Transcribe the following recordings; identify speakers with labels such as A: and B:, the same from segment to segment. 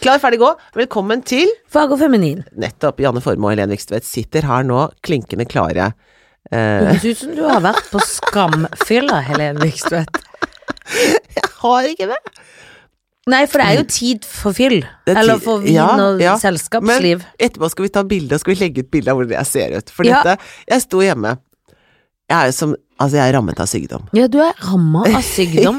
A: Klar, ferdig, gå. Velkommen til
B: Fag og feminin.
A: nettopp Janne Formoe og Helen Vikstvedt sitter her nå klinkende klare. Eh.
B: Det høres ut som du har vært på skamfylla, Helene Vikstvedt.
A: Jeg har ikke det!
B: Nei, for det er jo tid for fyll.
A: Det er
B: Eller
A: tid-
B: for vin
A: ja,
B: og
A: ja.
B: selskapsliv.
A: Men etterpå skal vi ta bilde, og skal vi legge ut bilde av hvordan jeg ser ut. For
B: Ja.
A: dette Jeg sto hjemme. Jeg er jo som Altså, jeg er rammet av sykdom.
B: Ja, du er ramma av sykdom,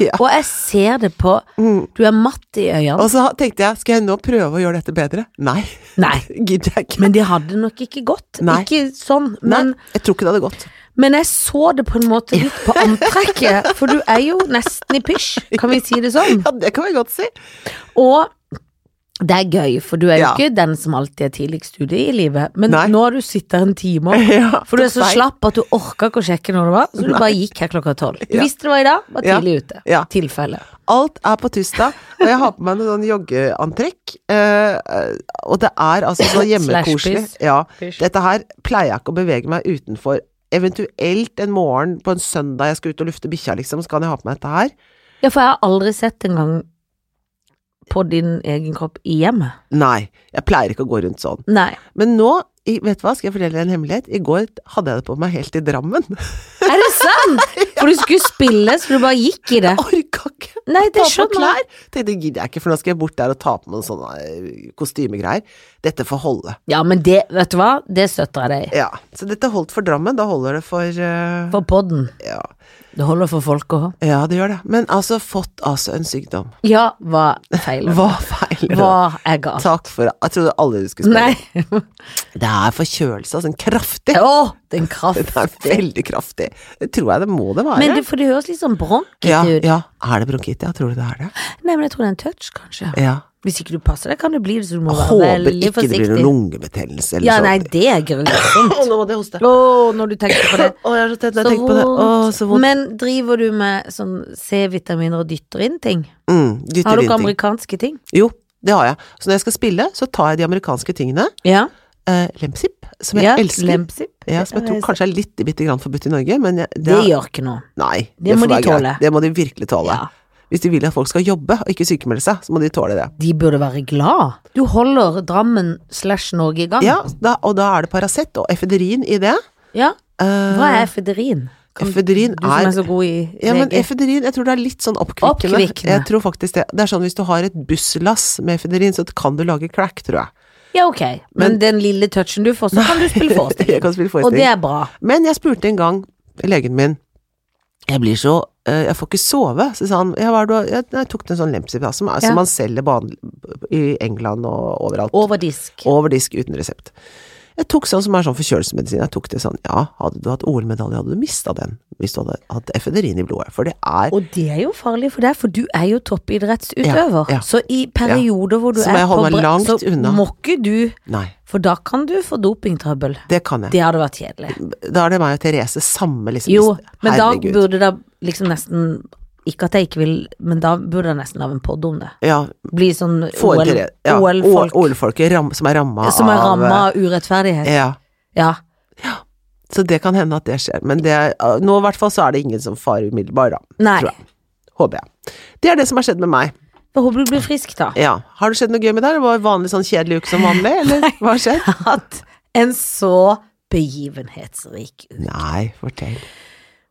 A: Ja.
B: og jeg ser det på
A: Mm.
B: Du er matt i øynene.
A: Og så tenkte jeg, skal jeg nå prøve å gjøre dette bedre? Nei.
B: Nei.
A: Gidder jeg ikke.
B: Men de hadde nok ikke gått.
A: Nei.
B: Ikke sånn.
A: Nei,
B: Men,
A: jeg tror ikke det hadde gått.
B: men jeg så det på en måte litt på antrekket, for du er jo nesten i pysj, kan vi si det sånn?
A: Ja, det kan vi godt si.
B: Og det er gøy, for du er jo
A: Ja.
B: ikke den som alltid er tidligst ute i livet, men
A: Nei.
B: nå har du sittet her en time, og-
A: Ja,
B: for du er så
A: feil.
B: slapp at du orka ikke å sjekke når det var, så du bare gikk her klokka tolv. Du
A: Ja.
B: visste det var i dag, var
A: Ja.
B: tidlig ute.
A: Ja.
B: Tilfelle.
A: Alt er på Tusta, og jeg har på meg noen sånn joggeantrekk. eh, og det er altså så hjemmekoselig.
B: Slash piss.
A: Ja,
B: Pysj.
A: dette her pleier jeg ikke å bevege meg utenfor. Eventuelt en morgen på en søndag jeg skal ut og lufte bikkja, liksom, så kan jeg ha på meg dette her.
B: Ja, for jeg har aldri sett en gang på din egen kropp i hjemmet.
A: Nei, jeg pleier ikke å gå rundt sånn.
B: Nei.
A: Men nå, i, vet du hva, skal jeg fortelle deg en hemmelighet? I går hadde jeg det på meg helt til Drammen.
B: Er det sant? For du skulle spille, så du bare gikk i det.
A: Jeg orka ikke.
B: Nei, det
A: ta på
B: skjønner jeg.
A: klær. Tenkte gidder jeg ikke, for nå skal jeg bort der og ta på meg noen sånne eh, kostymegreier. Dette får holde.
B: Ja, men det, vet du hva, det støtter jeg deg i.
A: Ja, så dette holdt for Drammen, da holder det for, eh,
B: For podden.
A: ja.
B: Det holder for folk òg.
A: ja, det gjør det. Men altså, fått altså en sykdom.
B: Ja, hva feiler
A: Hva feiler det?
B: Hva er galt?
A: Takk for Jeg trodde aldri du skulle spørre.
B: Nei.
A: Det er forkjølelse, altså. en Kraftig.
B: Å, den
A: Det er
B: kraftige.
A: veldig kraftig. Det tror jeg det må det være.
B: Men det, for det høres litt sånn bronkete
A: ja,
B: ut.
A: ja. Er det bronkitt? Ja, tror du det er det?
B: Nei, men jeg tror det er en touch, kanskje.
A: Ja.
B: Hvis ikke du passer deg, kan det bli det, så du må være
A: Håper
B: veldig
A: ikke det blir
B: forsiktig.
A: noen liksom. lungebetennelse eller
B: ja, nei,
A: sånt.
B: det er grusomt.
A: Å, nå må jeg hoste.
B: Å, når du tenker på det.
A: Å, jeg er så tett når
B: Så
A: jeg tenker på det. Å, så vondt.
B: Men driver du med sånn C-vitaminer og dytter inn ting?
A: Mm, dytter
B: Har du
A: inn
B: ikke
A: ting.
B: amerikanske ting?
A: Jo, det har jeg. Så når jeg skal spille, så tar jeg de amerikanske tingene.
B: Ja.
A: Eh, Lemsip, som jeg
B: ja.
A: elsker.
B: Lempsip.
A: Ja, som jeg tror kanskje er litt bitte grann forbudt i Norge, men jeg,
B: Det gjør ikke noe.
A: Nei,
B: Det må
A: får
B: de
A: være greit.
B: tåle.
A: Det må de virkelig tåle.
B: Ja.
A: Hvis de vil at folk skal jobbe og ikke sykemelde seg, så må de tåle det.
B: De burde være glad. Du holder Drammen slash Norge i gang.
A: Ja, da, og da er det Paracet og efedrin i det.
B: Ja.
A: Eh,
B: Hva er efedrin? Kan-
A: Efedrin
B: Du som
A: er-
B: er så god i
A: ja, men
B: lege.
A: efedrin, jeg tror det er litt sånn oppkvikkende.
B: Oppkvikkende.
A: Jeg tror faktisk det. Det er sånn hvis du har et busslass med efedrin, så kan du lage crack, tror jeg.
B: Ja, ok. Men, den lille touchen du får, så kan du spille
A: Jeg
B: forestilling.
A: kan spille
B: Og det
A: forestilling.
B: er bra.
A: Men jeg spurte en gang legen min Jeg blir så eh, Jeg får ikke sove. Så sa han ja, hva er det du har- jeg, jeg tok en sånn Lemsip, da, som, er-
B: Ja.
A: som man selger ban- i England og overalt.
B: Over disk.
A: Over disk uten resept. Jeg tok sånn som er sånn forkjølelsesmedisin. Jeg tok det sånn Ja, hadde du hatt OL-medalje, hadde du mista den hvis du hadde hatt efedrin i blodet. For det er
B: Og det er jo farlig for deg, for du er jo toppidrettsutøver.
A: Ja, ja.
B: Så i perioder hvor du
A: Så må
B: er
A: jeg holde meg
B: bre-
A: langt
B: så
A: unna.
B: må ikke du
A: Nei,
B: For da kan du få dopingtrøbbel.
A: det kan jeg.
B: Det hadde vært kjedelig.
A: Da er det meg og Therese samme liksom
B: Jo,
A: liste.
B: men da
A: Mm, Herregud.
B: burde det liksom nesten Ikke at jeg ikke vil, men da burde det nesten av en podd om det.
A: Ja,
B: Bli sånn
A: få en Therese. Ja,
B: OL-folk
A: OL-folket ram, som er ramma
B: som er ramma
A: av
B: av urettferdighet.
A: Ja.
B: Ja.
A: Så det kan hende at det skjer, men det, er- ah, nå i hvert fall så er det ingen som farer umiddelbar, da.
B: Nei.
A: Tror jeg. Håper jeg. Det er det som har skjedd med meg.
B: Jeg håper du blir frisk, da.
A: Ja. Har det skjedd noe gøy med deg? Det var en vanlig sånn kjedelig uke som vanlig, eller hva har skjedd?
B: At en så begivenhetsrik uke.
A: Nei, fortell.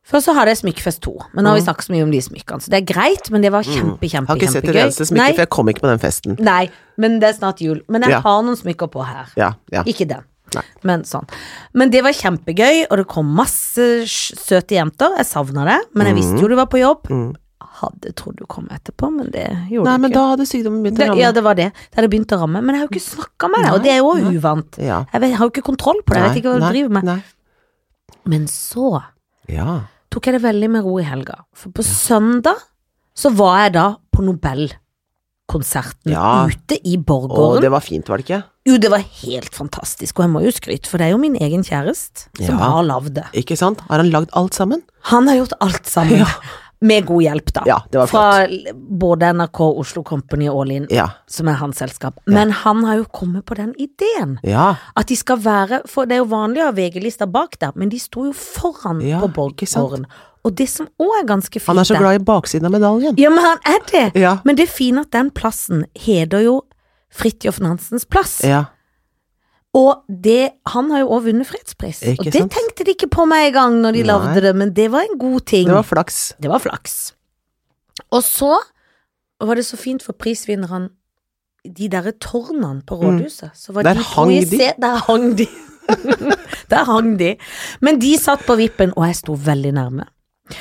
B: Først så hadde jeg Smykkefest 2, men nå har vi snakket så mye om de smykkene, så det er greit, men det var kjempe,
A: Jeg
B: kjempe,
A: Mm. har ikke sett et
B: kjempegøy.
A: eneste smykke, for jeg kom ikke på den festen.
B: Nei, nei, men det er snart jul. Men jeg
A: Ja.
B: har noen smykker på her.
A: Ja, ja.
B: Ikke den.
A: Nei.
B: Men sånn. Men det var kjempegøy, og det kom masse sj- søte jenter. Jeg savna det, men jeg
A: Mm.
B: visste jo du var på jobb. Hadde trodd du kom etterpå, men det gjorde
A: Nei,
B: du
A: men
B: ikke.
A: da hadde sykdommen begynt å
B: det, ja,
A: ramme.
B: det var det. Det hadde begynt å ramme, men jeg har jo ikke snakka med deg, og det er jo uvant.
A: Ja.
B: Jeg vet- jeg har jo ikke kontroll på det, jeg vet ikke hva du
A: Nei,
B: driver med.
A: nei.
B: Men så
A: Ja.
B: tok jeg det veldig med ro i helga, for på søndag så var jeg da på Nobelkonserten
A: Ja.
B: ute i
A: Og
B: Borggården.
A: det var fint, var det ikke?
B: Jo, det var helt fantastisk, og jeg må jo skryte, for det er jo min egen kjæreste som
A: Ja.
B: har lagd det.
A: Ikke sant? Har han lagd alt sammen?
B: Han har gjort alt sammen. Med god hjelp, da.
A: Ja, det var
B: Fra l- både NRK, Oslo Company og Linn,
A: Ja.
B: som er hans selskap. Men han har jo kommet på den ideen.
A: Ja.
B: At de skal være For det er jo vanlig å ha VG-lista bak der, men de sto jo foran
A: Ja,
B: på
A: ikke sant?
B: Borggården. Og det som òg er ganske fint
A: Han er så
B: der-
A: glad i baksiden av medaljen.
B: Ja, men han er det!
A: Ja.
B: Men det er fint at den plassen heter jo Fridtjof Nansens plass.
A: Ja.
B: Og det, han har jo òg vunnet fredspris.
A: Ikke
B: og det
A: sant?
B: tenkte de ikke på med en gang når de
A: Nei.
B: lagde det, men det var en god ting.
A: Det var flaks.
B: Det var flaks. Og så var det så fint for prisvinneren De derre tårnene på rådhuset. Så var
A: Mm. Der
B: de
A: hang
B: to i
A: de.
B: se- Der hang de. der hang de. Men de satt på vippen, og jeg sto veldig nærme.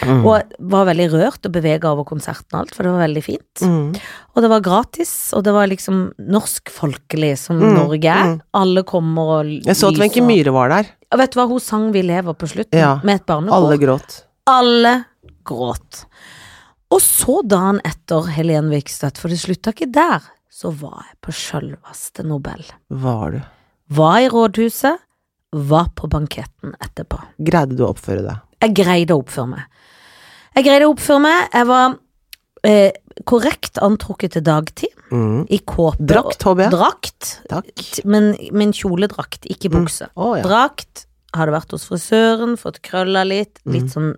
A: Mm.
B: Og var veldig rørt og bevega over konserten og alt, for det var veldig fint.
A: Mm.
B: Og det var gratis, og det var liksom norsk folkelig, som
A: Mm,
B: Norge er.
A: mm.
B: Alle kommer og lyser.
A: Jeg så at Wenche Myhre var der.
B: Og vet du hva, hun sang Vi lever på slutten,
A: Ja.
B: med et barnekor.
A: Alle gråt.
B: Alle gråt. Og så dagen etter Helen Vikstøt, for det slutta ikke der, så var jeg på sjølveste Nobel.
A: Var du
B: Var i rådhuset, var på banketten etterpå.
A: Greide du å oppføre deg?
B: Jeg greide å oppføre meg. Jeg greide å oppføre meg. Jeg var eh, korrekt antrukket til dagtid,
A: Mm.
B: i kåpe.
A: Drakt, håper jeg.
B: Drakt,
A: Takk.
B: men, men kjoledrakt, ikke bukse.
A: Å ja.
B: Drakt, hadde vært hos frisøren, fått krølla litt, litt sånn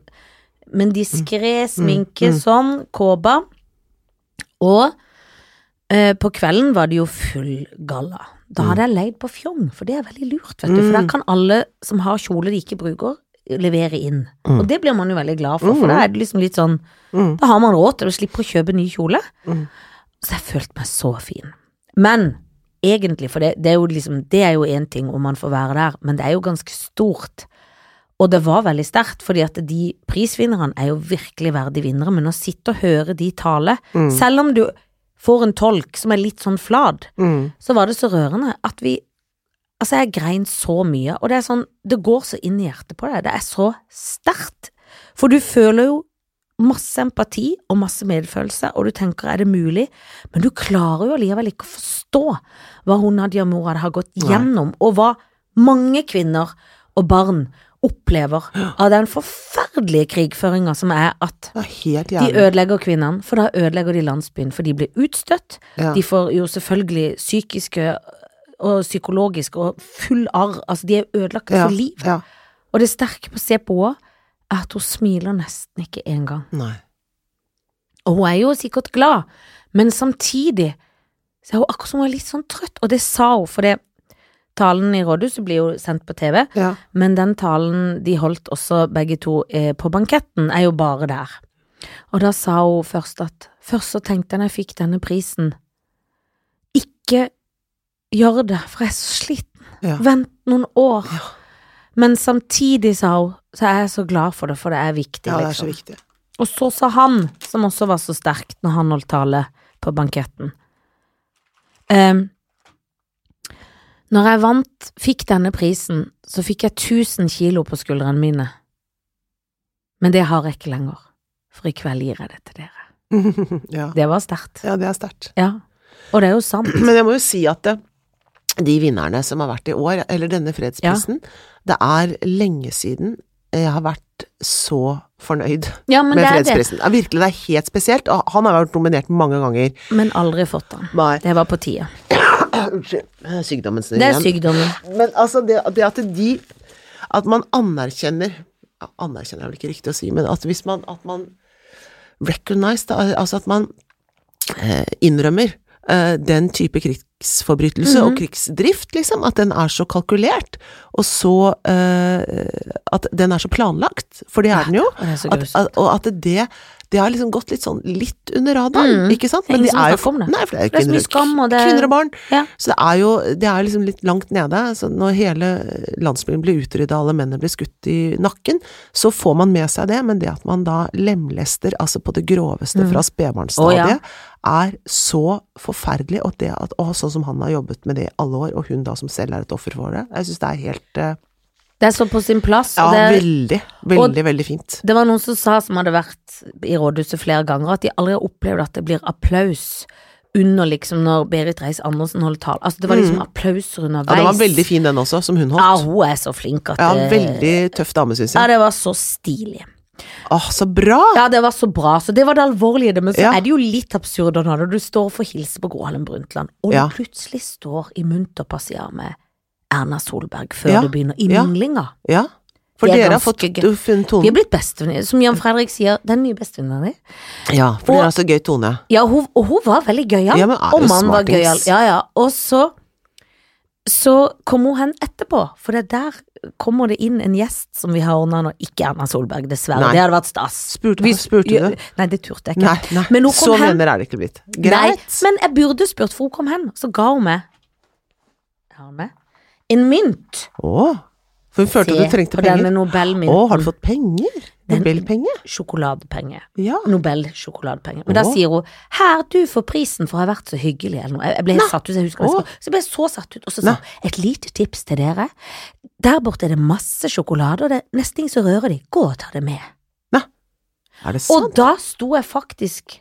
B: Men diskré sminke, sånn, kåba. Og eh, på kvelden var det jo full galla. Da hadde jeg leid på fjong, for det er veldig lurt, vet du. For da kan alle som har kjole de ikke bruker, levere inn. Og det blir man jo veldig glad for, for da er det liksom litt sånn
A: Mm.
B: Da har man råd til å slippe å kjøpe ny kjole.
A: Mm.
B: Så jeg følte meg så fin. Men egentlig, for det, det er jo liksom Det er jo én ting om man får være der, men det er jo ganske stort. Og det var veldig sterkt, fordi at de prisvinnerne er jo virkelig verdige vinnere, men å sitte og høre de tale,
A: Mm.
B: selv om du får en tolk som er litt sånn flad,
A: Mm.
B: så var det så rørende at vi Altså, jeg grein så mye, og det er sånn Det går så inn i hjertet på deg. Det er så sterkt. For du føler jo masse empati og masse medfølelse, og du tenker er det mulig? Men du klarer jo allikevel ikke å forstå hva hun Hadia Murad har gått
A: Nei.
B: gjennom, og hva mange kvinner og barn opplever av den forferdelige krigføringa som er at
A: Det er helt
B: de
A: jævlig.
B: ødelegger kvinnene, for da ødelegger de landsbyen, for de blir utstøtt.
A: Ja.
B: De får jo selvfølgelig psykiske og psykologiske og full arr. Altså, de er ødelagt
A: Ja,
B: for liv.
A: Ja.
B: Og det sterke på CPO er at hun smiler nesten ikke engang.
A: Nei.
B: Og hun er jo sikkert glad, men samtidig så er hun akkurat som hun er litt sånn trøtt, og det sa hun, for det Talen i rådhuset blir jo sendt på TV,
A: Ja.
B: men den talen de holdt også begge to eh, på banketten, er jo bare der. Og da sa hun først at først så tenkte jeg når jeg fikk denne prisen, ikke gjør det, for jeg er så sliten,
A: Ja.
B: vent noen år. Men samtidig, sa hun, så er jeg så glad for det, for det er viktig,
A: ja, det er så
B: liksom.
A: viktig.
B: Og så sa han, som også var så sterkt når han holdt tale på banketten ehm, Når jeg vant, fikk denne prisen, så fikk jeg 1000 kilo på skuldrene mine. Men det har jeg ikke lenger, for i kveld gir jeg det til dere.
A: ja.
B: Det var sterkt.
A: ja, det er sterkt.
B: Ja. Og det er jo sant.
A: Men jeg må jo si at det, de vinnerne som har vært i år, eller denne fredsprisen, det er lenge siden jeg har vært så fornøyd
B: Ja, men
A: med
B: det er det.
A: fredsprisen. Ja, virkelig, det er helt spesielt. Og han har vært nominert mange ganger.
B: Men aldri fått den.
A: Nei,
B: Det var på tide.
A: unnskyld. Sykdommen snur
B: Det er
A: igjen.
B: sykdommen.
A: Men altså, det, det at de At man anerkjenner ja, Anerkjenner er vel ikke riktig å si, men at hvis man At man recognize, da, altså at man eh, innrømmer eh, den type krigsforbrytelse
B: Mhm.
A: og krigsdrift, liksom. At den er så kalkulert, og så eh, At den er så planlagt, for det er den jo.
B: og det er så
A: at,
B: grusomt.
A: at, og at det det har liksom gått litt sånn litt under radaren, ikke sant?
B: Mm. Det er ingen som
A: jo-
B: snakker om det.
A: Nei, for det er jo
B: Det er så mye
A: kvinner,
B: skam, og det er-
A: kvinner og barn.
B: Ja.
A: Så det er jo det er liksom litt langt nede. Så når hele landsbyen blir utrydda, alle mennene blir skutt i nakken, så får man med seg det, men det at man da lemlester altså på det groveste fra
B: Mm. Å, ja.
A: spedbarnsstadiet, er så forferdelig. Og det at, å, sånn som han har jobbet med det i alle år, og hun da som selv er et offer for det, jeg syns det er helt eh,
B: Det er så på sin plass.
A: Ja,
B: og det er,
A: veldig, veldig, veldig fint.
B: Det var noen som sa, som hadde vært i rådhuset flere ganger, at de aldri har opplevd at det blir applaus under liksom når Berit Reiss-Andersen holdt tale. Altså, det var liksom applauser
A: Mm.
B: underveis.
A: Ja, den var veldig fin, den også, som hun
B: Ja,
A: holdt.
B: hun er så flink at
A: Ja,
B: det-
A: veldig tøff dame, syns
B: Ja,
A: jeg.
B: det var så stilig.
A: Åh, så bra!
B: Ja, det var så bra. Så det var det alvorlige i det. Men så
A: Ja.
B: er det jo litt absurd da, når du står for å hilse på Gro Harlem Brundtland, og
A: Ja.
B: du plutselig står i munter passiar med Erna Solberg før
A: Ja.
B: du begynner i
A: Ja.
B: minglinga.
A: Ja. For
B: Det er
A: dere har fått
B: ganske gøy.
A: du har funnet
B: Vi
A: tonen.
B: er blitt bestevenninner. Som Jan Fredrik sier, den nye bestevenninna di.
A: Ja, for dere har så gøy tone.
B: Ja, hun, og hun var veldig gøyal.
A: Ja, men er
B: og
A: jo
B: mannen var
A: smartings.
B: gøyal. Ja, ja. Og så, så kom hun hen etterpå, for det der kommer det inn en gjest som vi har ordna nå. Ikke Erna Solberg, dessverre.
A: Nei.
B: Det hadde vært stas.
A: Spurte,
B: Vi-
A: spurte du?
B: Nei, det turte jeg ikke.
A: Nei, nei.
B: Men hun
A: så
B: kom hen.
A: venner er det ikke blitt.
B: Nei,
A: Greit.
B: men jeg burde spurt, for hun kom hen, så ga hun meg Har hun med? En mynt.
A: Å, for hun følte
B: Se
A: at du trengte
B: på Denne
A: penger.
B: Nobelmynten.
A: Å, har du fått penger?
B: Den-
A: Nobelpenger?
B: Sjokoladepenge.
A: Ja.
B: Nobelsjokoladepenger. Men da
A: Åh.
B: sier hun 'her, du får prisen for å ha vært så hyggelig', eller noe. Jeg- Jeg ble helt satt ut, jeg husker det.
A: Åh.
B: Så jeg ble så satt ut, og så sa hun 'et lite tips til dere'. Der borte er det masse sjokolade, og det er nesten ingen som rører de. Gå og ta det med.
A: Er det
B: Og
A: sant?
B: da sto jeg faktisk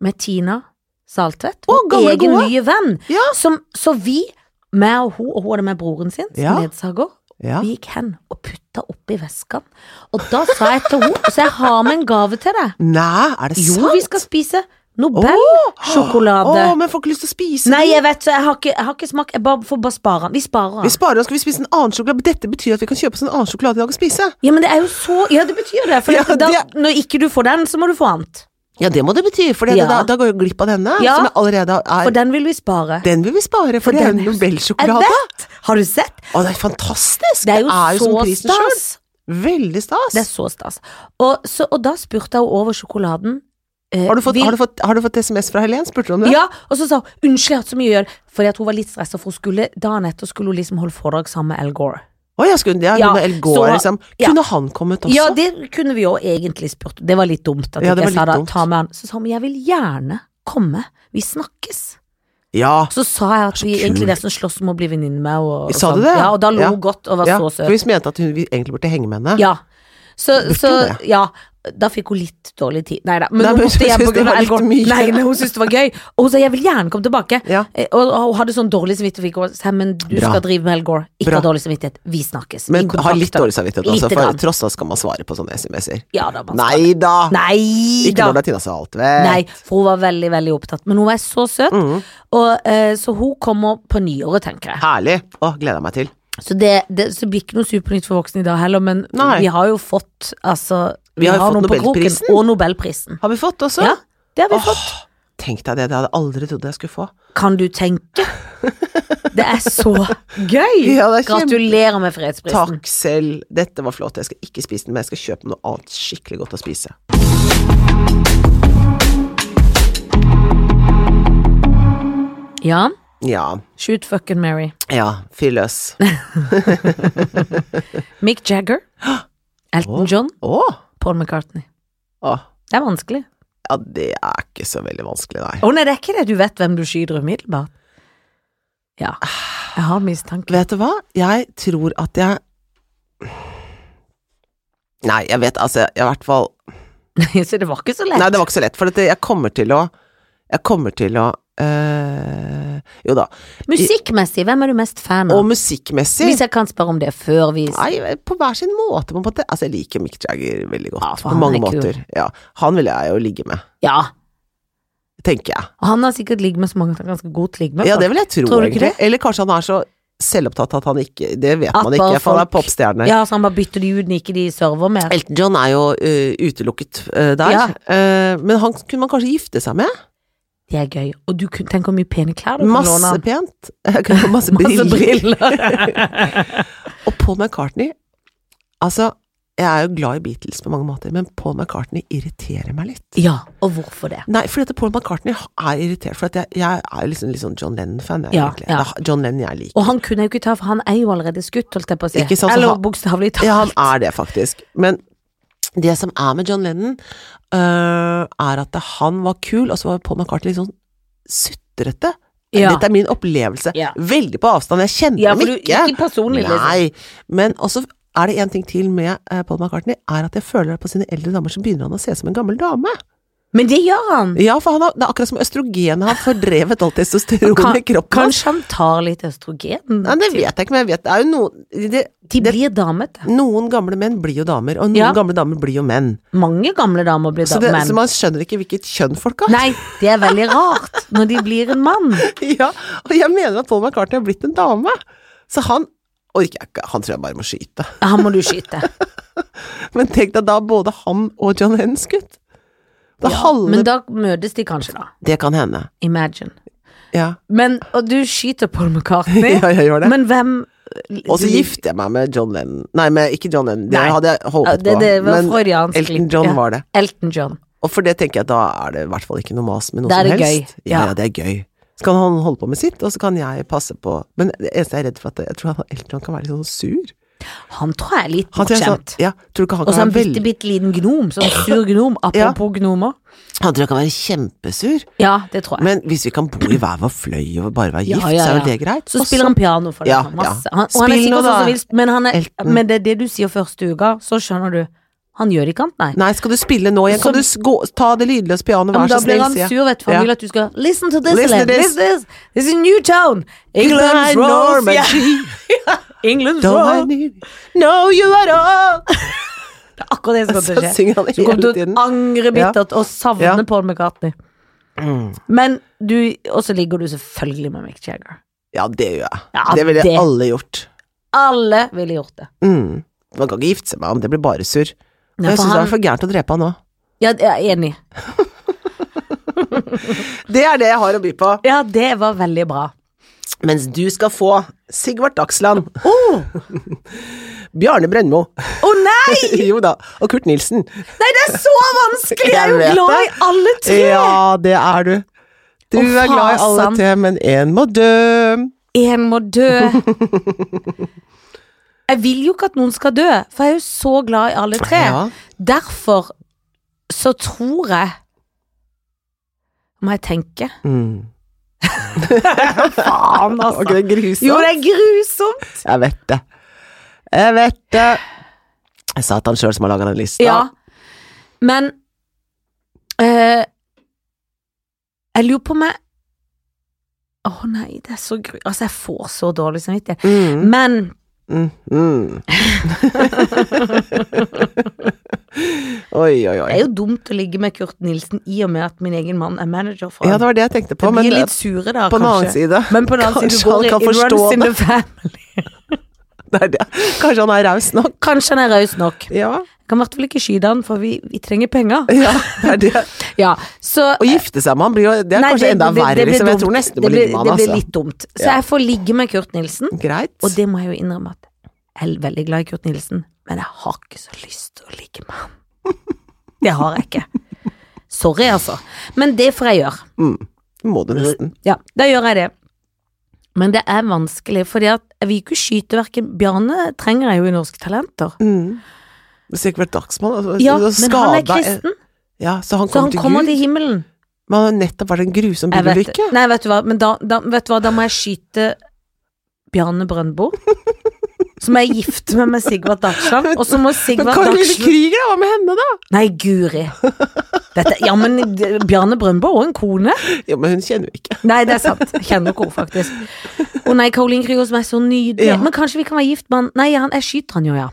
B: med Tina Saltvedt,
A: Åh,
B: vår
A: gamle
B: egen
A: gode.
B: nye venn,
A: Ja.
B: som, så vi, meg og hun, og hun hadde med broren sin, som
A: Ja.
B: ledsager,
A: Ja.
B: vi gikk hen og putta oppi veska. Og da sa jeg til henne, så jeg har med en gave til deg.
A: Nei, er det
B: Jo,
A: sant?
B: vi skal spise
A: Å,
B: Nobelsjokolade.
A: men jeg får ikke lyst til å spise
B: Nei,
A: den.
B: jeg vet så, jeg har ikke, jeg har ikke smak, jeg bare får bare spare den. Vi sparer
A: Vi
B: den.
A: sparer oss, skal vi spise en annen sjokolade? Dette betyr at vi kan kjøpe oss en annen sjokolade i dag og spise.
B: Ja, men det er jo så Ja, det betyr det. For
A: Ja,
B: det- da,
A: det-
B: når ikke du får den, så må du få annet.
A: Ja, det må det bety, for
B: Ja.
A: da, da går jeg jo glipp av denne,
B: Ja.
A: som jeg allerede
B: For
A: er
B: den vil vi spare.
A: Den vil vi spare, for,
B: For
A: det er
B: den
A: en
B: er jo- Jeg
A: Nobelsjokolade.
B: vet! Har du sett?
A: Å, det er fantastisk!
B: Det er jo,
A: som
B: så
A: prisen selv.
B: stas.
A: Veldig stas.
B: Det er så stas. Og, så, og da spurte hun over sjokoladen. eh,
A: Har du, fått,
B: vil-
A: har, du fått, har du fått SMS fra Helen? Spurte du om det?
B: Ja, og så sa hun unnskyld, jeg har hatt så mye å gjøre, fordi at hun var litt stressa, for hun skulle dagen etter skulle hun liksom holde foredrag sammen med Al Gore.
A: Å ja, skulle ja,
B: Ja,
A: noe med El Gore,
B: så-
A: liksom.
B: ja.
A: Kunne han kommet også?
B: Ja, det kunne vi jo egentlig spurt. Det var litt dumt at
A: Ja, det
B: ikke
A: var
B: jeg sa
A: litt
B: da,
A: dumt.
B: ta med han. Så sa hun, men jeg vil gjerne komme, vi snakkes.
A: Ja.
B: Så sa jeg at
A: Så
B: vi
A: kult.
B: egentlig nesten slåss om å bli venninne med henne. og
A: Sa du
B: sånn.
A: det?
B: Ja, og da lo
A: Ja.
B: hun godt og var
A: ja.
B: så søt.
A: For vi mente at hun vi egentlig burde henge med henne.
B: Ja. Så,
A: Burde
B: så
A: det.
B: ja, da fikk hun litt dårlig tid. Nei da, men
A: Nei,
B: hun
A: men
B: måtte
A: hun
B: hjem
A: syntes
B: på
A: det
B: grunn av
A: var litt
B: Elgort.
A: mye.
B: Nei, nei, hun syntes det var gøy. Og hun sa jeg vil gjerne komme tilbake.
A: Ja.
B: Eh, Og, og hun hadde sånn dårlig samvittighet. for ikke å- Sa, men du
A: Bra.
B: skal drive med Elgore. Ikke
A: Bra.
B: ha dårlig samvittighet. Vi snakkes.
A: Men
B: Vi
A: har litt
B: kontakter.
A: dårlig samvittighet også,
B: Lite
A: for
B: grann.
A: tross alt skal man svare på sånne SMS-er.
B: Ja da. man skal-
A: Nei da!
B: Nei
A: Ikke
B: da.
A: når det er Tina Saltvedt.
B: Nei, for hun var veldig, veldig opptatt. Men hun var så søt.
A: Mm.
B: Og, eh, så hun kommer på nyåret, tenker jeg.
A: Herlig. Å, gleder jeg meg til.
B: Så det, det så det blir ikke noe supernytt for voksne i dag heller, men
A: Nei.
B: vi har jo fått altså
A: Vi har jo fått
B: noe på kroken,
A: Nobelprisen.
B: Og Nobelprisen.
A: Har vi fått også?
B: Ja, det har vi
A: Åh,
B: fått.
A: Tenk deg det, det hadde jeg aldri trodd jeg skulle få.
B: Kan du tenke? Det er så gøy!
A: Ja, det er kjempe-
B: Gratulerer med fredsprisen.
A: Takk selv, dette var flott, jeg skal ikke spise den, men jeg skal kjøpe noe annet skikkelig godt å spise.
B: Ja,
A: Ja,
B: shoot fucking Mary.
A: ja, fyr løs.
B: Mick Jagger, Elton John,
A: Å,
B: Paul McCartney.
A: å,
B: Det er vanskelig.
A: ja, det er ikke så veldig vanskelig, nei.
B: Å nei, det er ikke det. Du vet hvem du skyter umiddelbart. Ja. Jeg har mistanke.
A: Vet du hva? Jeg tror at jeg Nei, jeg vet altså jeg- I hvert fall
B: Så det var ikke så lett.
A: Nei, det var ikke så lett, for at jeg kommer til å Jeg kommer til å eh, Jo da.
B: Musikkmessig, hvem er du mest fan av?
A: Og musikkmessig
B: Hvis jeg kan spørre om det før vi
A: Nei, på hver sin måte, på en måte. Altså, jeg liker Mick Jagger veldig godt.
B: Ja, for
A: på
B: han
A: mange
B: er kul.
A: måter. Ja, han vil jeg jo ligge med,
B: Ja.
A: tenker jeg.
B: Han har sikkert ligget med så mange at han er ganske god til å ligge med.
A: Ja, det vil jeg tro,
B: Tror du ikke
A: egentlig. Eller kanskje han er så selvopptatt at han ikke Det vet
B: At
A: man ikke,
B: bare
A: for han er
B: folk-
A: popstjerne.
B: ja, så han bare bytter de ut når ikke de server mer.
A: Elton John er jo ø, utelukket ø, der,
B: Ja.
A: Eh, men han kunne man kanskje gifte seg med?
B: Det er gøy. Og du kunne tenke hvor mye pene klær du kunne låne.
A: Masse pent. Jeg kunne få masse
B: Masse
A: briller.
B: briller.
A: Og Paul McCartney Altså, jeg er jo glad i Beatles på mange måter, men Paul McCartney irriterer meg litt.
B: ja, og hvorfor det?
A: Nei, fordi at Paul McCartney er irritert, for at jeg, jeg er jo liksom litt sånn John Lennon-fan, jeg,
B: Ja,
A: egentlig.
B: ja.
A: Det er John Lennon jeg liker.
B: Og han kunne jeg jo ikke ta, for han er jo allerede skutt, holdt jeg på å si.
A: Ikke sant, så
B: Eller
A: han-
B: bokstavelig talt.
A: Ja, han er det, faktisk. Men det som er med John Lennon, øh, er at han var kul, og så var Paul McCartney litt sånn sutrete.
B: Ja.
A: Dette er min opplevelse.
B: Ja.
A: Veldig på avstand, jeg kjenner
B: Ja,
A: ham
B: for du,
A: ikke.
B: ikke personlig, liksom.
A: Nei, men også er øh, det en ting til med eh, Paul McCartney, er at jeg føler at på sine eldre damer så begynner han å se ut som en gammel dame.
B: Men det gjør han.
A: Ja, for han har, det er akkurat som østrogenet har fordrevet alt
B: Kan-
A: testosteronet i kroppen. hans.
B: Kanskje han tar litt østrogen?
A: Nei, det vet jeg ikke, men jeg vet det er jo noen det,
B: De
A: det,
B: blir damete.
A: Noen gamle menn blir jo damer, og noen
B: Ja.
A: gamle damer blir jo menn.
B: Mange gamle damer blir
A: Så, det,
B: damer.
A: så man skjønner ikke hvilket kjønn folk har.
B: Nei, det er veldig rart når de blir en mann.
A: Ja, og jeg mener at Paul McCartney har blitt en dame. Så han orker jeg ikke, han tror jeg bare må skyte.
B: Han må du skyte.
A: Men tenk deg da både han og John Lennon skutt. Det
B: Ja,
A: halve
B: Men da møtes de kanskje, da.
A: Det kan hende.
B: Imagine.
A: Ja.
B: Men, og du skyter Paul McCartney,
A: ja, jeg gjør det.
B: men hvem
A: Og så gifter jeg meg med John Lennon. Nei, med, ikke John Lennon, det
B: Nei.
A: hadde jeg
B: Ja,
A: håpet
B: det, det
A: på.
B: var
A: Men
B: freudiansk
A: Elton
B: glipp,
A: John
B: ja.
A: var det.
B: Elton John.
A: Og for det tenker jeg, da er det i hvert fall ikke noe mas med noe
B: Da er
A: som
B: det
A: helst.
B: gøy,
A: Ja,
B: ja.
A: ja, det er gøy. Så kan han holde på med sitt, og så kan jeg passe på Men det eneste jeg er redd for, at jeg tror han, Elton John kan være litt sånn sur.
B: Han tror jeg er litt
A: Han tror jeg sånn,
B: bortskjemt.
A: ja, tror du ikke han
B: Og så
A: kan
B: en
A: være
B: bitte,
A: veldig
B: bitte liten gnom, sånn sur gnom. Apropos gnomer.
A: Han tror jeg kan være kjempesur.
B: Ja, det tror jeg.
A: Men hvis vi kan bo i hver vår fløy og bare være
B: Ja,
A: gift,
B: ja,
A: så er
B: ja.
A: vel det greit?
B: Så spiller han piano for deg.
A: Ja,
B: sånn, masse.
A: ja.
B: Han, og han er
A: Spill nå,
B: sikkert sånn
A: da,
B: som vil, men, han er,
A: Elton.
B: men det er det du sier første uka, så skjønner du. Han gjør ikke annet, nei.
A: Nei, skal du spille nå igjen?
B: Så-
A: Kan du s- gå, ta det lydløse pianoet,
B: Men
A: vær
B: da
A: så
B: blir
A: snill,
B: han
A: sier jeg.
B: sur, vet du, for han
A: Ja.
B: vil at du skal Listen to this,
A: Listen to
B: Ellen.
A: this.
B: This, this. This is new town.
A: Goodbye,
B: England's rose. Ja.
A: Normandy.
B: England's
A: Don't I
B: rose.
A: need No you at all!
B: Det er akkurat det som kommer
A: Så
B: til å skje.
A: synger han
B: Du kommer
A: hele
B: til å
A: tiden.
B: angre bittert og savne
A: Ja.
B: Paul McCartney.
A: Mm.
B: Men du Og så ligger du selvfølgelig med Mick Jagger.
A: Ja, det gjør jeg.
B: Ja,
A: det ville
B: det-
A: alle gjort.
B: Alle ville gjort det.
A: Mm. Man kan ikke gifte seg med ham, det blir bare surr. Men
B: Nei,
A: jeg
B: for
A: syns det
B: han,
A: er for gærent å drepe han òg.
B: ja, jeg er enig.
A: Det er det jeg har å by på.
B: Ja, det var veldig bra.
A: Mens du skal få Sigvart Dagsland. Bjarne Brøndmo.
B: Å nei!
A: jo da. Og Kurt Nilsen.
B: Nei, det er så vanskelig! Jeg er
A: Jeg
B: jo
A: vet
B: glad i
A: det.
B: alle tre.
A: Ja, det er du. Du
B: Å,
A: er glad i alle
B: fasan.
A: tre, men én må dø.
B: En må dø. Jeg vil jo ikke at noen skal dø, for jeg er jo så glad i alle tre.
A: Ja.
B: Derfor så tror jeg Må jeg tenke?
A: Mm.
B: Faen, altså.
A: Var ikke det grusomt?
B: Jo, det er grusomt!
A: Jeg vet det. Jeg vet det. Jeg sa at han sjøl som har laga den lista.
B: Ja. Men eh, Jeg lurer på om jeg Å nei, det er så gru... Altså, jeg får så dårlig samvittighet.
A: Mm,
B: Men
A: mm, mm. oi, oi,
B: det
A: oi.
B: er jo dumt å ligge med Kurt Nilsen i og med at min egen mann er manager for
A: Ja,
B: ham.
A: det var det jeg tenkte på,
B: de
A: men
B: blir
A: eh,
B: litt sure da,
A: på den annen
B: kanskje.
A: side
B: Men på den annen
A: Kanskje
B: side, du går
A: han
B: i
A: kan
B: it runs
A: forstå
B: in the family.
A: det er det. Kanskje han er raus nok?
B: Kanskje han er raus nok.
A: Ja.
B: Jeg kan i hvert fall ikke skyte han, for vi, vi trenger penger.
A: ja, det er det.
B: Ja, så
A: Å gifte seg med han blir jo Det er
B: Nei,
A: kanskje enda
B: blir-
A: verre,
B: blir
A: liksom. Jeg
B: dumt.
A: tror nesten du må
B: Det blir-
A: ligge med han,
B: Det blir
A: altså.
B: litt dumt. Så
A: Ja.
B: jeg får ligge med Kurt Nilsen,
A: Greit.
B: og det må jeg jo innrømme at jeg er veldig glad i Kurt Nilsen, men jeg har ikke så lyst til å ligge med han. Det har jeg ikke. Sorry, altså. Men det får jeg gjøre.
A: Mm. Må
B: Eh,
A: du nesten.
B: Ja, da gjør jeg det. Men det er vanskelig, fordi at jeg vil ikke skyte hverken Bjarne trenger jeg jo i Norske Talenter.
A: Mm. Sikkert Dagsmann. Altså,
B: Ja,
A: du har
B: men han er
A: skadet en-
B: kristen,
A: Ja, så han
B: så
A: kom
B: han
A: til
B: kommer
A: Gud.
B: til himmelen.
A: Men han har nettopp vært en grusom
B: Jeg vet,
A: bilulykke.
B: nei, vet du hva, men da, da, vet du hva, da må jeg skyte Bjarne Brøndbo. Så må jeg gifte meg med Sigvard Dagsland, og så må
A: Men
B: Sigvard
A: Karoline
B: Dagsland
A: Krüger, da? Hva med henne, da?
B: Nei, guri. Dette, ja, men d- Bjarne Brøndbo og en kone.
A: Jo, men hun kjenner vi ikke.
B: Nei, det er sant. Jeg Kjenner ikke henne, faktisk. Å nei, Caroline Krüger som er så nydelig.
A: Ja.
B: Men kanskje vi kan være gift med han Nei, han, jeg skyter han jo, ja.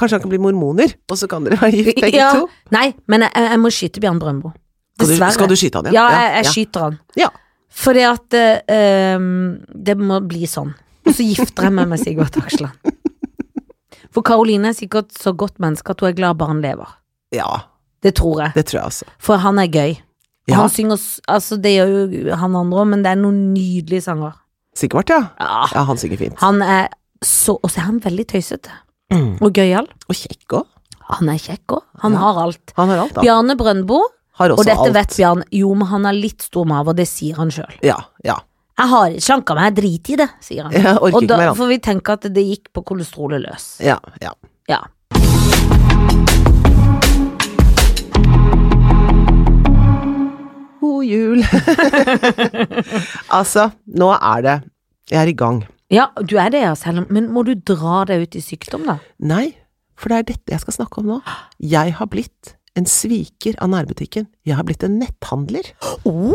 A: Kanskje han kan bli mormoner, og så kan dere være gift begge
B: Ja.
A: to?
B: Nei, men jeg, jeg må skyte Bjarne Brøndbo.
A: Skal du,
B: Dessverre.
A: skal du skyte han,
B: ja, jeg, jeg skyter han.
A: Ja.
B: Fordi at eh, um, det må bli sånn. Og så gifter jeg meg med Sigvart Aksland. For Karoline er sikkert så godt menneske at hun er glad bare han lever.
A: Ja,
B: Det tror jeg.
A: det tror jeg altså.
B: For han er gøy. Og
A: Ja.
B: han synger s- Altså, det gjør jo han andre òg, men det er noen nydelige sanger.
A: Sigvart, ja.
B: Ja.
A: Ja, han synger fint.
B: Han er så Og så er han veldig tøysete.
A: Mm.
B: Og gøyal.
A: Og kjekk òg.
B: Han er kjekk òg. Han
A: Ja.
B: har alt.
A: Han har alt, da.
B: Bjarne Brøndbo,
A: Har
B: og
A: også
B: dette
A: alt.
B: vet Bjarne, jo, men han er litt stor mage, og det sier han sjøl.
A: Ja, ja.
B: Jeg har ikke slanka meg, jeg driter i det, sier han.
A: Jeg orker
B: Og
A: ikke
B: da
A: mer, han.
B: får vi tenke at det gikk på kolesterolet løs.
A: Ja, ja.
B: Ja.
A: God jul. altså, nå er det Jeg er i gang.
B: ja, du er det, ja, selv om Men må du dra deg ut i sykdom, da?
A: Nei, for det er dette jeg skal snakke om nå. Jeg har blitt en sviker av nærbutikken. Jeg har blitt en netthandler.
B: Oh,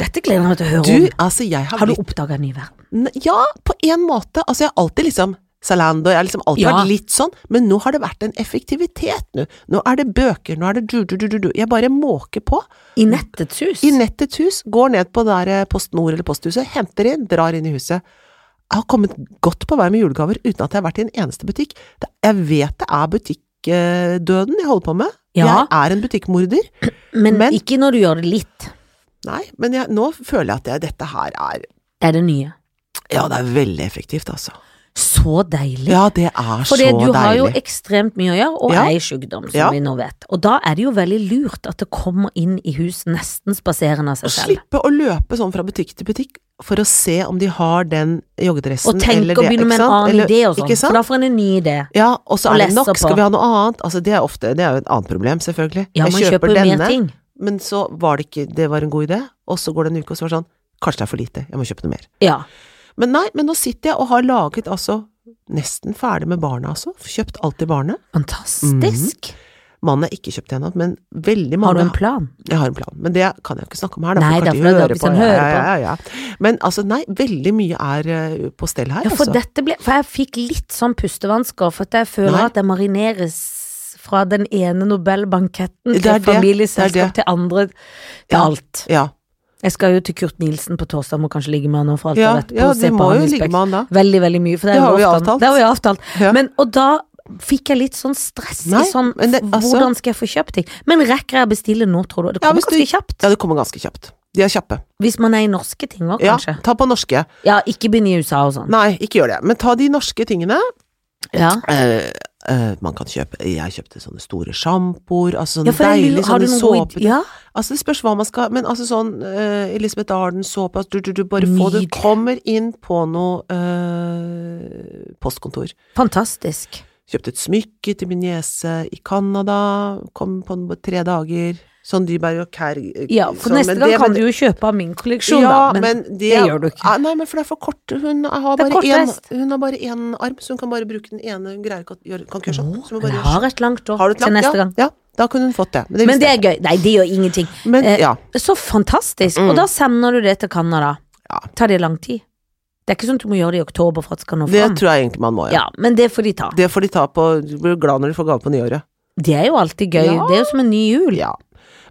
B: dette gleder jeg meg til å høre
A: Du,
B: om.
A: altså, jeg har,
B: Har du
A: blitt
B: oppdaga en ny verden?
A: N- Ja, på en måte. Altså, jeg har alltid liksom Zalando, jeg har liksom alltid
B: Ja.
A: vært litt sånn, men nå har det vært en effektivitet nå. Nå er det bøker, nå er det du-du-du-du. Jeg bare måker på.
B: I nettets hus?
A: I nettets hus, går ned på der eh, Post Nord eller Posthuset, henter inn, drar inn i huset. Jeg har kommet godt på vei med julegaver uten at jeg har vært i en eneste butikk. Det- Jeg vet det er butikkdøden jeg holder på med.
B: Ja.
A: Jeg er en butikkmorder.
B: men,
A: men-
B: ikke når du gjør det litt.
A: Nei, men jeg, nå føler jeg at jeg, dette her er
B: Det er det nye.
A: Ja, det er veldig effektivt, altså.
B: Så deilig.
A: Ja, det er
B: For
A: så
B: du
A: deilig.
B: har jo ekstremt mye å gjøre, og
A: Ja.
B: er i sykdom, som
A: Ja.
B: vi nå vet. Og da er det jo veldig lurt at det kommer inn i hus nesten spaserende av
A: Å
B: seg selv.
A: slippe å løpe sånn fra butikk til butikk for å se om de har den joggedressen
B: Og tenke
A: eller
B: å
A: det,
B: begynne med
A: ikke
B: en
A: sant?
B: annen
A: Eller-
B: idé og sånn,
A: Ikke sant?
B: for da får en en ny idé.
A: Ja, og så
B: Og
A: er det nok,
B: lese på.
A: skal vi ha noe annet? Altså, det, er ofte, det er jo et annet problem, selvfølgelig.
B: Ja, man
A: jeg
B: kjøper,
A: kjøper denne,
B: mer ting.
A: men så var det ikke Det var en god idé, og så går det en uke, og så var det sånn Kanskje det er for lite, jeg må kjøpe noe mer.
B: Ja.
A: Men nei, men nå sitter jeg og har laget altså Nesten ferdig med barna, altså. Kjøpt alt til barnet.
B: Fantastisk.
A: Mhm. Mannen har ikke kjøpt ennå, men veldig mange
B: Har du en plan?
A: jeg har en plan, men det kan jeg ikke snakke om her. Da,
B: Nei,
A: for
B: det
A: kanskje
B: er for
A: de
B: det er
A: hører
B: hvis han
A: Ja,
B: hører
A: ja, ja, ja. Men altså, nei, veldig mye er eh, på stell her,
B: Ja, for
A: altså.
B: dette ble For jeg fikk litt sånn pustevansker, for at jeg føler
A: Nei.
B: at jeg marineres fra den ene Nobelbanketten
A: Det er
B: til
A: det. Det er
B: familieselskap
A: det.
B: til andre til
A: Ja.
B: alt.
A: Ja,
B: Jeg skal jo til Kurt Nilsen på torsdag, må kanskje ligge med han nå for alt
A: ja,
B: jeg vet.
A: ja
B: på å se
A: det
B: på
A: må
B: han
A: jo
B: i
A: ligge
B: spekt.
A: med han da.
B: Veldig, veldig mye. For det,
A: Det
B: er
A: har vi
B: lovt han.
A: avtalt.
B: Det har vi avtalt.
A: Ja.
B: Men, og da fikk jeg litt sånn stress
A: Nei,
B: i sånn
A: men det- altså-
B: Hvordan skal jeg få kjøpt ting? Men rekker jeg å bestille nå, tror du? Det
A: Ja,
B: kommer
A: hvis du-
B: ganske kjapt.
A: Ja, det kommer ganske kjapt. De er kjappe.
B: Hvis man er i norske ting òg,
A: Ja,
B: kanskje.
A: ta på norske.
B: Ja, ikke begynn i USA og sånn.
A: Nei, ikke gjør det. Men ta de norske tingene.
B: Ja.
A: Eh, eh, man kan kjøpe Jeg kjøpte sånne store sjampoer, altså sånne
B: Ja, for jeg lurer-
A: deilige
B: har du
A: sånne
B: noen god
A: såper.
B: id- Ja,
A: Altså, det spørs hva man skal Men altså sånn eh, Elisabeth Arden-såpe altså, du, du, du bare får Du
B: Nydelig.
A: kommer inn på noe eh, postkontor.
B: fantastisk.
A: Kjøpte et smykke til min niese i Canada, kom på den på tre dager. Sånn de bare og kær...
B: Ja, for
A: sånn,
B: neste
A: men
B: gang
A: det-
B: kan
A: men-
B: du jo kjøpe av min kolleksjon,
A: ja,
B: da. Men,
A: men
B: det gjør du ikke.
A: Ah, Nei, men for det er for kort. Hun har
B: Det er
A: bare én
B: kortreist.
A: Hun har bare én arm, så hun kan bare bruke den ene. Hun greier ikke å gjøre Kan ikke gjøre sånn.
B: Å,
A: Så hun
B: men
A: bare
B: jeg
A: gjør sånn.
B: har et langt år
A: Har du et
B: til
A: langt?
B: neste
A: ja,
B: gang.
A: Ja, da kunne hun fått det. Men det,
B: Men det
A: visste
B: er gøy. Nei, det gjør ingenting.
A: jeg. men
B: eh,
A: ja.
B: Så fantastisk.
A: Mm.
B: Og da sender du det til Canada.
A: Ja.
B: Tar det lang tid? Det er ikke sånn at du må gjøre det i oktober for at det skal nå
A: Det
B: fram.
A: tror jeg egentlig man må,
B: Ja, men det får de ta.
A: Det får de ta på Du blir glad når de får gave på nyåret.
B: Det er jo alltid gøy.
A: Ja.
B: Det er jo som en ny jul.
A: Ja.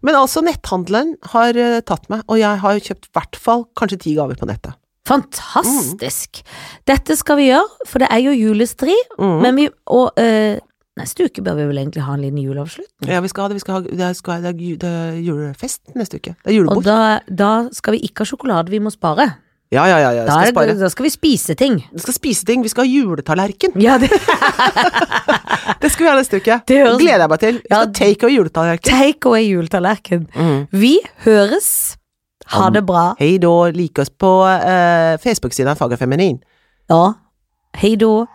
A: Men altså, netthandelen har eh, tatt meg, og jeg har kjøpt i hvert fall kanskje ti gaver på nettet.
B: Fantastisk. Dette skal vi gjøre, for det er jo julestri,
A: Mm.
B: men vi Og eh, neste uke bør vi vel egentlig ha en liten juleavslutning.
A: ja, vi skal ha det. Vi skal ha, det, er- skal, ha- det, er, ju- det er julefest neste uke. Det er
B: Og
A: julebord.
B: da, da skal vi ikke ha sjokolade, vi må spare.
A: ja, ja, ja. ja. Vi
B: Da,
A: skal
B: er det,
A: spare.
B: da skal vi spise ting.
A: Vi skal spise ting. Vi skal ha juletallerken.
B: Ja, det
A: Det skal vi ha neste uke.
B: Det høres-
A: gleder jeg meg til. Vi
B: Ja,
A: skal
B: Mm.
A: take og juletallerken.
B: Take away juletallerken. Vi høres. Ha det bra. 哦
A: Hei da. Like oss på eh, Facebook-siden Fagerfeminin.
B: Ja. Hei då.